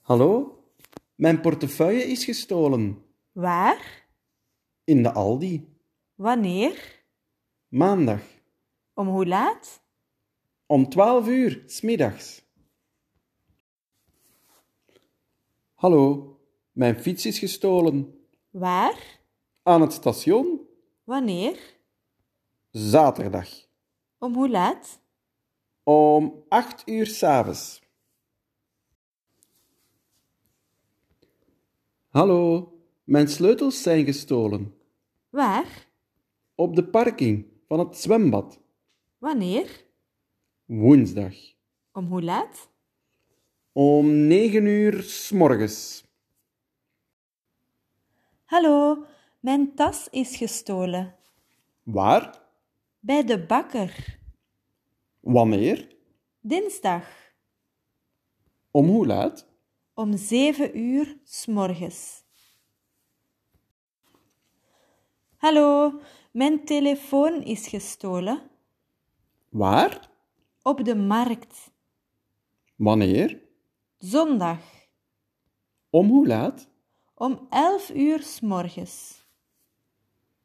Hallo? Mijn portefeuille is gestolen. Waar? In de Aldi. Wanneer? Maandag. Om hoe laat? Om 12 uur, smiddags. Hallo, mijn fiets is gestolen. Waar? Aan het station? Wanneer? Zaterdag. Om hoe laat? Om 8 uur s'avonds. Hallo, mijn sleutels zijn gestolen. Waar? Op de parking van het zwembad. Wanneer? Woensdag. Om hoe laat? Om 9 uur s'morgens. Hallo, mijn tas is gestolen. Waar? Bij de bakker. Wanneer? Dinsdag. Om hoe laat? Om zeven uur s morgens. Hallo, mijn telefoon is gestolen. Waar? Op de markt. Wanneer? Zondag. Om hoe laat? Om elf uur s morgens.